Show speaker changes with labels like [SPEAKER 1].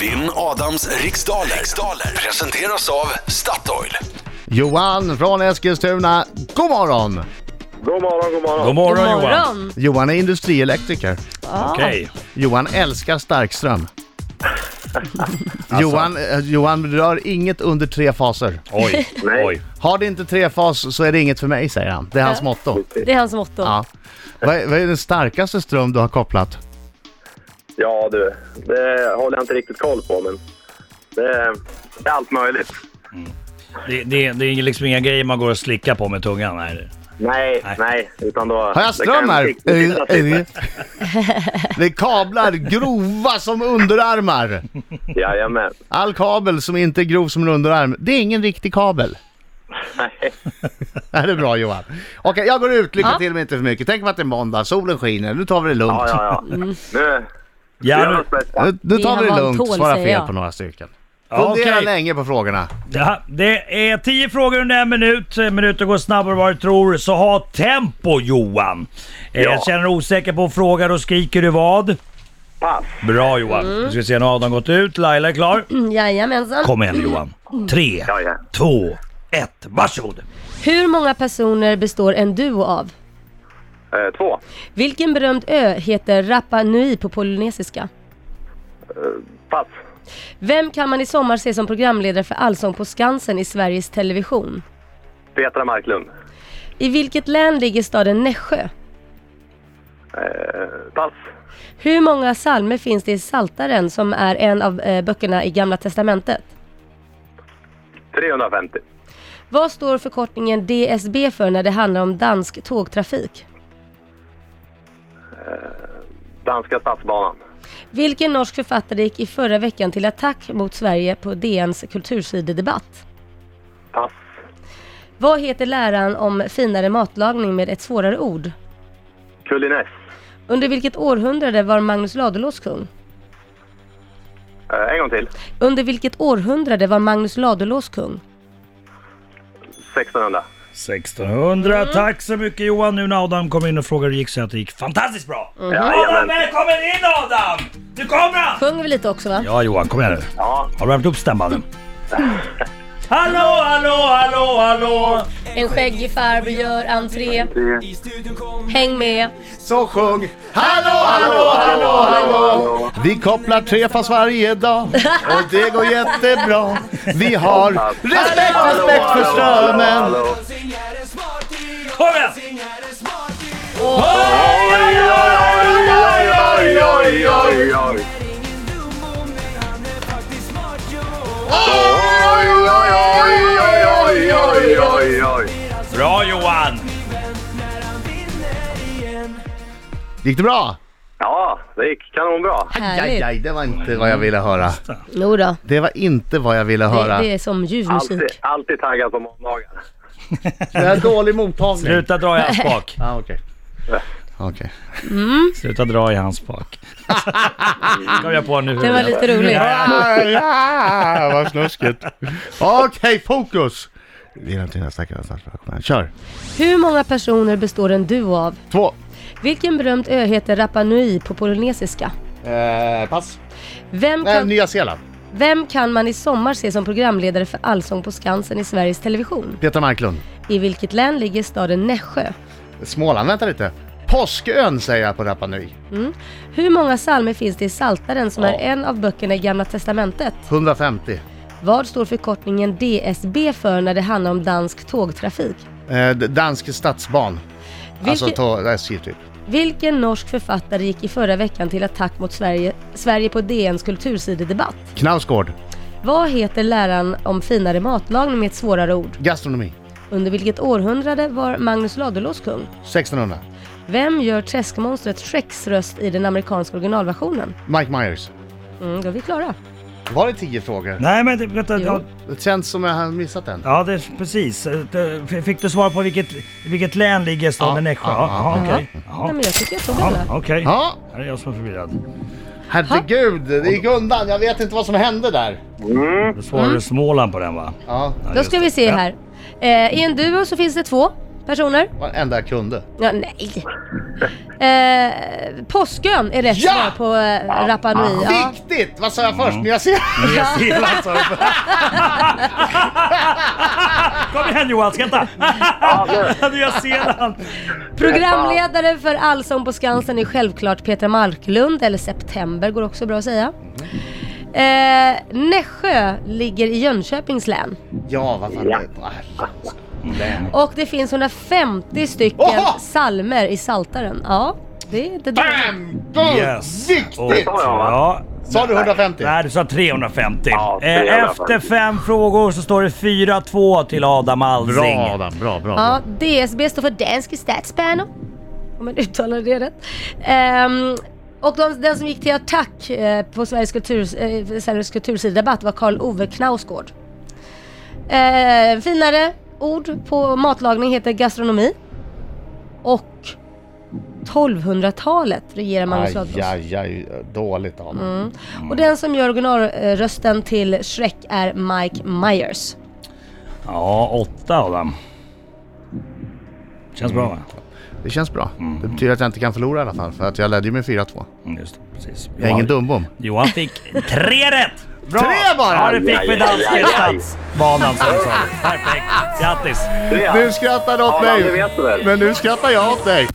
[SPEAKER 1] Vinn Adams riksdaler. riksdaler presenteras av Statoil.
[SPEAKER 2] Johan från Eskilstuna, god morgon!
[SPEAKER 3] God morgon, god morgon.
[SPEAKER 4] God morgon,
[SPEAKER 5] God
[SPEAKER 4] Johan.
[SPEAKER 5] morgon.
[SPEAKER 2] Johan är industrielektriker.
[SPEAKER 4] Okej.
[SPEAKER 2] Johan älskar starkström.
[SPEAKER 3] Alltså.
[SPEAKER 2] Johan, eh, Johan rör inget under tre faser.
[SPEAKER 4] Oj,
[SPEAKER 3] Nej.
[SPEAKER 4] oj.
[SPEAKER 2] Har det inte trefas så är det inget för mig, säger han. Det är hans motto.
[SPEAKER 5] Det är hans motto.
[SPEAKER 2] Ja. Vad är, vad är den starkaste ström du har kopplat?
[SPEAKER 3] Ja du, det håller jag inte riktigt koll på men det är, det är allt möjligt.
[SPEAKER 4] Det, det, det är liksom inga grejer man går och slickar på med tungan. Här.
[SPEAKER 3] Nej, nej, utan då...
[SPEAKER 2] Har jag
[SPEAKER 3] det kan
[SPEAKER 2] ström här? Eh.
[SPEAKER 3] riktigt finnas lite.
[SPEAKER 2] Det är kablar grova som underarmar.
[SPEAKER 3] Jajamän.
[SPEAKER 2] All kabel som inte är grov som en underarm, det är ingen riktig kabel.
[SPEAKER 3] Nej.
[SPEAKER 2] Det här är bra Johan. Okej, jag går ut. Lycka
[SPEAKER 5] Ja.
[SPEAKER 2] till men inte för mycket. Tänk på att det är måndag, solen skiner. Nu tar vi det lugnt.
[SPEAKER 3] Ja, ja, ja.
[SPEAKER 2] Mm.
[SPEAKER 3] Nu, gör
[SPEAKER 4] Ja,
[SPEAKER 3] vårt bästa.
[SPEAKER 2] Nu, nu tar vi
[SPEAKER 5] Det
[SPEAKER 2] det
[SPEAKER 5] här var
[SPEAKER 2] lugnt.
[SPEAKER 5] en tål,
[SPEAKER 2] Svara
[SPEAKER 5] säger
[SPEAKER 2] fel
[SPEAKER 5] jag.
[SPEAKER 2] på några stycken.
[SPEAKER 4] Ja,
[SPEAKER 2] Fundera
[SPEAKER 4] okej.
[SPEAKER 2] länge på frågorna.
[SPEAKER 4] det, det är tio frågor under en minut. Minuter går snabbare än vad du tror, så ha tempo Johan. Eh,
[SPEAKER 3] Ja.
[SPEAKER 4] Jag känner dig osäker på fråga, då skriker du vad?
[SPEAKER 3] Pass.
[SPEAKER 4] Bra Johan. Nu ska vi se, nu har Adam gått ut. Laila är klar.
[SPEAKER 5] Mm, Jajamensan.
[SPEAKER 4] Kom igen Johan. Tre,
[SPEAKER 3] Ja, ja.
[SPEAKER 4] två, ett. Varsågod.
[SPEAKER 5] Hur många personer består en duo av?
[SPEAKER 3] Eh, två.
[SPEAKER 5] Vilken berömd ö heter Rapa Nui på polynesiska?
[SPEAKER 3] Pass.
[SPEAKER 5] Vem kan man i sommar se som programledare för Allsång på Skansen i Sveriges Television?
[SPEAKER 3] Petra Marklund.
[SPEAKER 5] I vilket län ligger staden Nässjö?
[SPEAKER 3] Eh, pass.
[SPEAKER 5] Hur många psalmer finns det i Saltaren som är en av eh, böckerna i Gamla Testamentet?
[SPEAKER 3] 350.
[SPEAKER 5] Vad står förkortningen DSB för när det handlar om dansk tågtrafik?
[SPEAKER 3] Danska Stadsbanan.
[SPEAKER 5] Vilken norsk författare gick i förra veckan till attack mot Sverige på DNs kultursidedebatt?
[SPEAKER 3] Pass.
[SPEAKER 5] Vad heter läran om finare matlagning med ett svårare ord?
[SPEAKER 3] Kuliness.
[SPEAKER 5] Under vilket århundrade var Magnus Ladulås kung?
[SPEAKER 3] Eh, en gång till.
[SPEAKER 5] Under vilket århundrade var Magnus Ladulås kung?
[SPEAKER 3] 1600.
[SPEAKER 4] 1600. Tack så mycket Johan. Nu när Adam kom in och frågade hur det gick så att det gick fantastiskt bra.
[SPEAKER 2] Mm.
[SPEAKER 4] Adam,
[SPEAKER 3] Jajamän.
[SPEAKER 4] välkommen in Adam! Nu kommer han!
[SPEAKER 5] Sjöng vi lite också va?
[SPEAKER 4] Ja Johan, kom igen nu.
[SPEAKER 3] Ja.
[SPEAKER 4] Har du värmt upp stämbanden? hallå, hallå, hallå, hallå!
[SPEAKER 5] En skäggig farbror gör entré.
[SPEAKER 3] tre.
[SPEAKER 5] Häng med!
[SPEAKER 2] Så sjung! Hallå, hallå, hallå, hallå! Vi kopplar trefas varje dag och det går jättebra. Vi har respekt, respekt för strömmen.
[SPEAKER 3] Hallå.
[SPEAKER 4] Kom igen!
[SPEAKER 3] Oj, oj, oj, oj, oj. Oj, oj, oj, oj, oj, oj, oj, oj.
[SPEAKER 4] Bra Johan!
[SPEAKER 2] Gick det bra?
[SPEAKER 3] Ja, det gick kanonbra.
[SPEAKER 2] Aj,
[SPEAKER 5] Härligt!
[SPEAKER 2] aj, det var inte vad jag ville höra.
[SPEAKER 5] Jo då.
[SPEAKER 2] Det var inte vad jag ville
[SPEAKER 5] Det,
[SPEAKER 2] höra.
[SPEAKER 5] det är som ljuv musik.
[SPEAKER 3] Alltid, alltid taggad på måndagar.
[SPEAKER 2] Det är dålig mottagning.
[SPEAKER 4] Sluta dra i hans bak.
[SPEAKER 2] Ah, okej. Okej.
[SPEAKER 4] Sluta dra i hans bak. kom jag på nu.
[SPEAKER 5] Det var lite roligt.
[SPEAKER 2] Ah, ja, Ah, Vad snuskigt. Okej, fokus! Vila till nästa kväll. Kom igen, Kör!
[SPEAKER 5] Hur många personer består en duo av?
[SPEAKER 2] Två.
[SPEAKER 5] Vilken berömd ö heter Rapa Nui på polynesiska?
[SPEAKER 2] Eh, pass.
[SPEAKER 5] Vem
[SPEAKER 2] Nej,
[SPEAKER 5] kan,
[SPEAKER 2] Nya Zeeland.
[SPEAKER 5] vem kan man i sommar se som programledare för Allsång på Skansen i Sveriges Television?
[SPEAKER 2] Petra Marklund.
[SPEAKER 5] I vilket län ligger staden Nässjö?
[SPEAKER 2] Småland, vänta lite. Påskön säger jag på Rapa Nui.
[SPEAKER 5] Hur många psalmer finns det i Saltaren som
[SPEAKER 2] Ja.
[SPEAKER 5] är en av böckerna i Gamla Testamentet?
[SPEAKER 2] 150.
[SPEAKER 5] Vad står förkortningen DSB för när det handlar om dansk tågtrafik?
[SPEAKER 2] Eh, d- dansk stadsban. Alltså
[SPEAKER 5] Vilken-
[SPEAKER 2] ta SJ typ.
[SPEAKER 5] Vilken norsk författare gick i förra veckan till attack mot Sverige, Sverige på DNs kultursidedebatt?
[SPEAKER 2] Knausgård.
[SPEAKER 5] Vad heter läran om finare matlagning med ett svårare ord?
[SPEAKER 2] Gastronomi.
[SPEAKER 5] Under vilket århundrade var Magnus Ladulås kung?
[SPEAKER 2] 1600.
[SPEAKER 5] Vem gör träskmonstret Shreks röst i den amerikanska originalversionen?
[SPEAKER 2] Mike Myers.
[SPEAKER 5] Mm, då är vi klara.
[SPEAKER 2] Var det tio frågor?
[SPEAKER 4] Nej men det, vänta, ja,
[SPEAKER 5] Jo.
[SPEAKER 2] Det känns som jag har missat en.
[SPEAKER 4] ja det, precis. Eh, Det- Fick du svar på vilket, vilket län ligger
[SPEAKER 2] Ja,
[SPEAKER 4] staden Nässjö?
[SPEAKER 2] ja,
[SPEAKER 4] Ja,
[SPEAKER 2] ja,
[SPEAKER 4] okej.
[SPEAKER 5] Nej,
[SPEAKER 4] Ja,
[SPEAKER 5] men jag tycker jag tog
[SPEAKER 4] ja,
[SPEAKER 5] alla.
[SPEAKER 4] Okej.
[SPEAKER 2] Ja,
[SPEAKER 4] Det är jag som är förvirrad.
[SPEAKER 2] herregud. Det gick undan. Jag vet inte vad som hände där. Mm.
[SPEAKER 4] Då svarade du Småland på den va?
[SPEAKER 2] Ja.
[SPEAKER 4] Ja,
[SPEAKER 5] Då
[SPEAKER 4] just
[SPEAKER 5] ska
[SPEAKER 4] det.
[SPEAKER 5] vi se här. Eh, I en duo så finns det två personer.
[SPEAKER 2] Varenda jag kunde.
[SPEAKER 5] Ja, nej. Eh, Påskön är rätt
[SPEAKER 2] Ja!
[SPEAKER 5] svar på eh, Rapa Nui. Ja.
[SPEAKER 2] Viktigt! Vad sa jag först? Nya Zeeland?
[SPEAKER 4] Nya Zeeland sa du. Kom igen Johan, skratta! Nya Zeeland!
[SPEAKER 5] Programledare för Allsång på Skansen är självklart Petra Marklund, eller September går också bra att säga. Eh, Nässjö ligger i Jönköpings län
[SPEAKER 2] Ja, vad fan
[SPEAKER 3] Ja.
[SPEAKER 2] det är.
[SPEAKER 5] och det finns 150 stycken
[SPEAKER 2] Oha!
[SPEAKER 5] salmer i Saltaren. Ja, det är inte dåligt.
[SPEAKER 2] Bam! Boom!
[SPEAKER 4] Yes. Och-
[SPEAKER 2] Viktigt!
[SPEAKER 4] ja.
[SPEAKER 2] Sa du 150?
[SPEAKER 4] Nej, du sa 350.
[SPEAKER 3] Ja,
[SPEAKER 4] Eh,
[SPEAKER 3] 350.
[SPEAKER 4] Efter fem frågor så står det 4-2 till Adam Alsing.
[SPEAKER 2] Bra Adam, bra, bra.
[SPEAKER 5] Ja,
[SPEAKER 2] bra.
[SPEAKER 5] DSB står för Danske Statsbaner, om man uttalar det rätt. Ehm, och de, den som gick till attack eh, på Sveriges, kultur, eh, Sveriges kultursidedebatt var Karl Ove Knausgård. Eh, finare ord på matlagning heter gastronomi. Och 1200-talet regerar Magnus Mm.
[SPEAKER 2] Aj,
[SPEAKER 5] Ladulås.
[SPEAKER 2] aj, aj. Dåligt Adam.
[SPEAKER 5] Och den som gör originalrösten till Shrek är Mike Myers.
[SPEAKER 4] Ja, 8 Adam. Känns bra va?
[SPEAKER 2] Det känns bra. Det betyder att jag inte kan förlora i alla fall. För att jag ledde ju med 4-2.
[SPEAKER 4] Mm, Just det, precis.
[SPEAKER 2] Jag är ingen dumbom.
[SPEAKER 4] Johan fick tre rätt! Bra.
[SPEAKER 2] Tre bara?
[SPEAKER 4] Ja, det fick vi
[SPEAKER 3] Aj, aj, aj,
[SPEAKER 4] danske
[SPEAKER 3] aj.
[SPEAKER 4] statsbanan som sa. Perfekt. Grattis!
[SPEAKER 3] Det är
[SPEAKER 2] Du skrattar åt
[SPEAKER 3] Adam,
[SPEAKER 2] mig.
[SPEAKER 3] det vet du väl.
[SPEAKER 2] Men nu skrattar jag åt dig.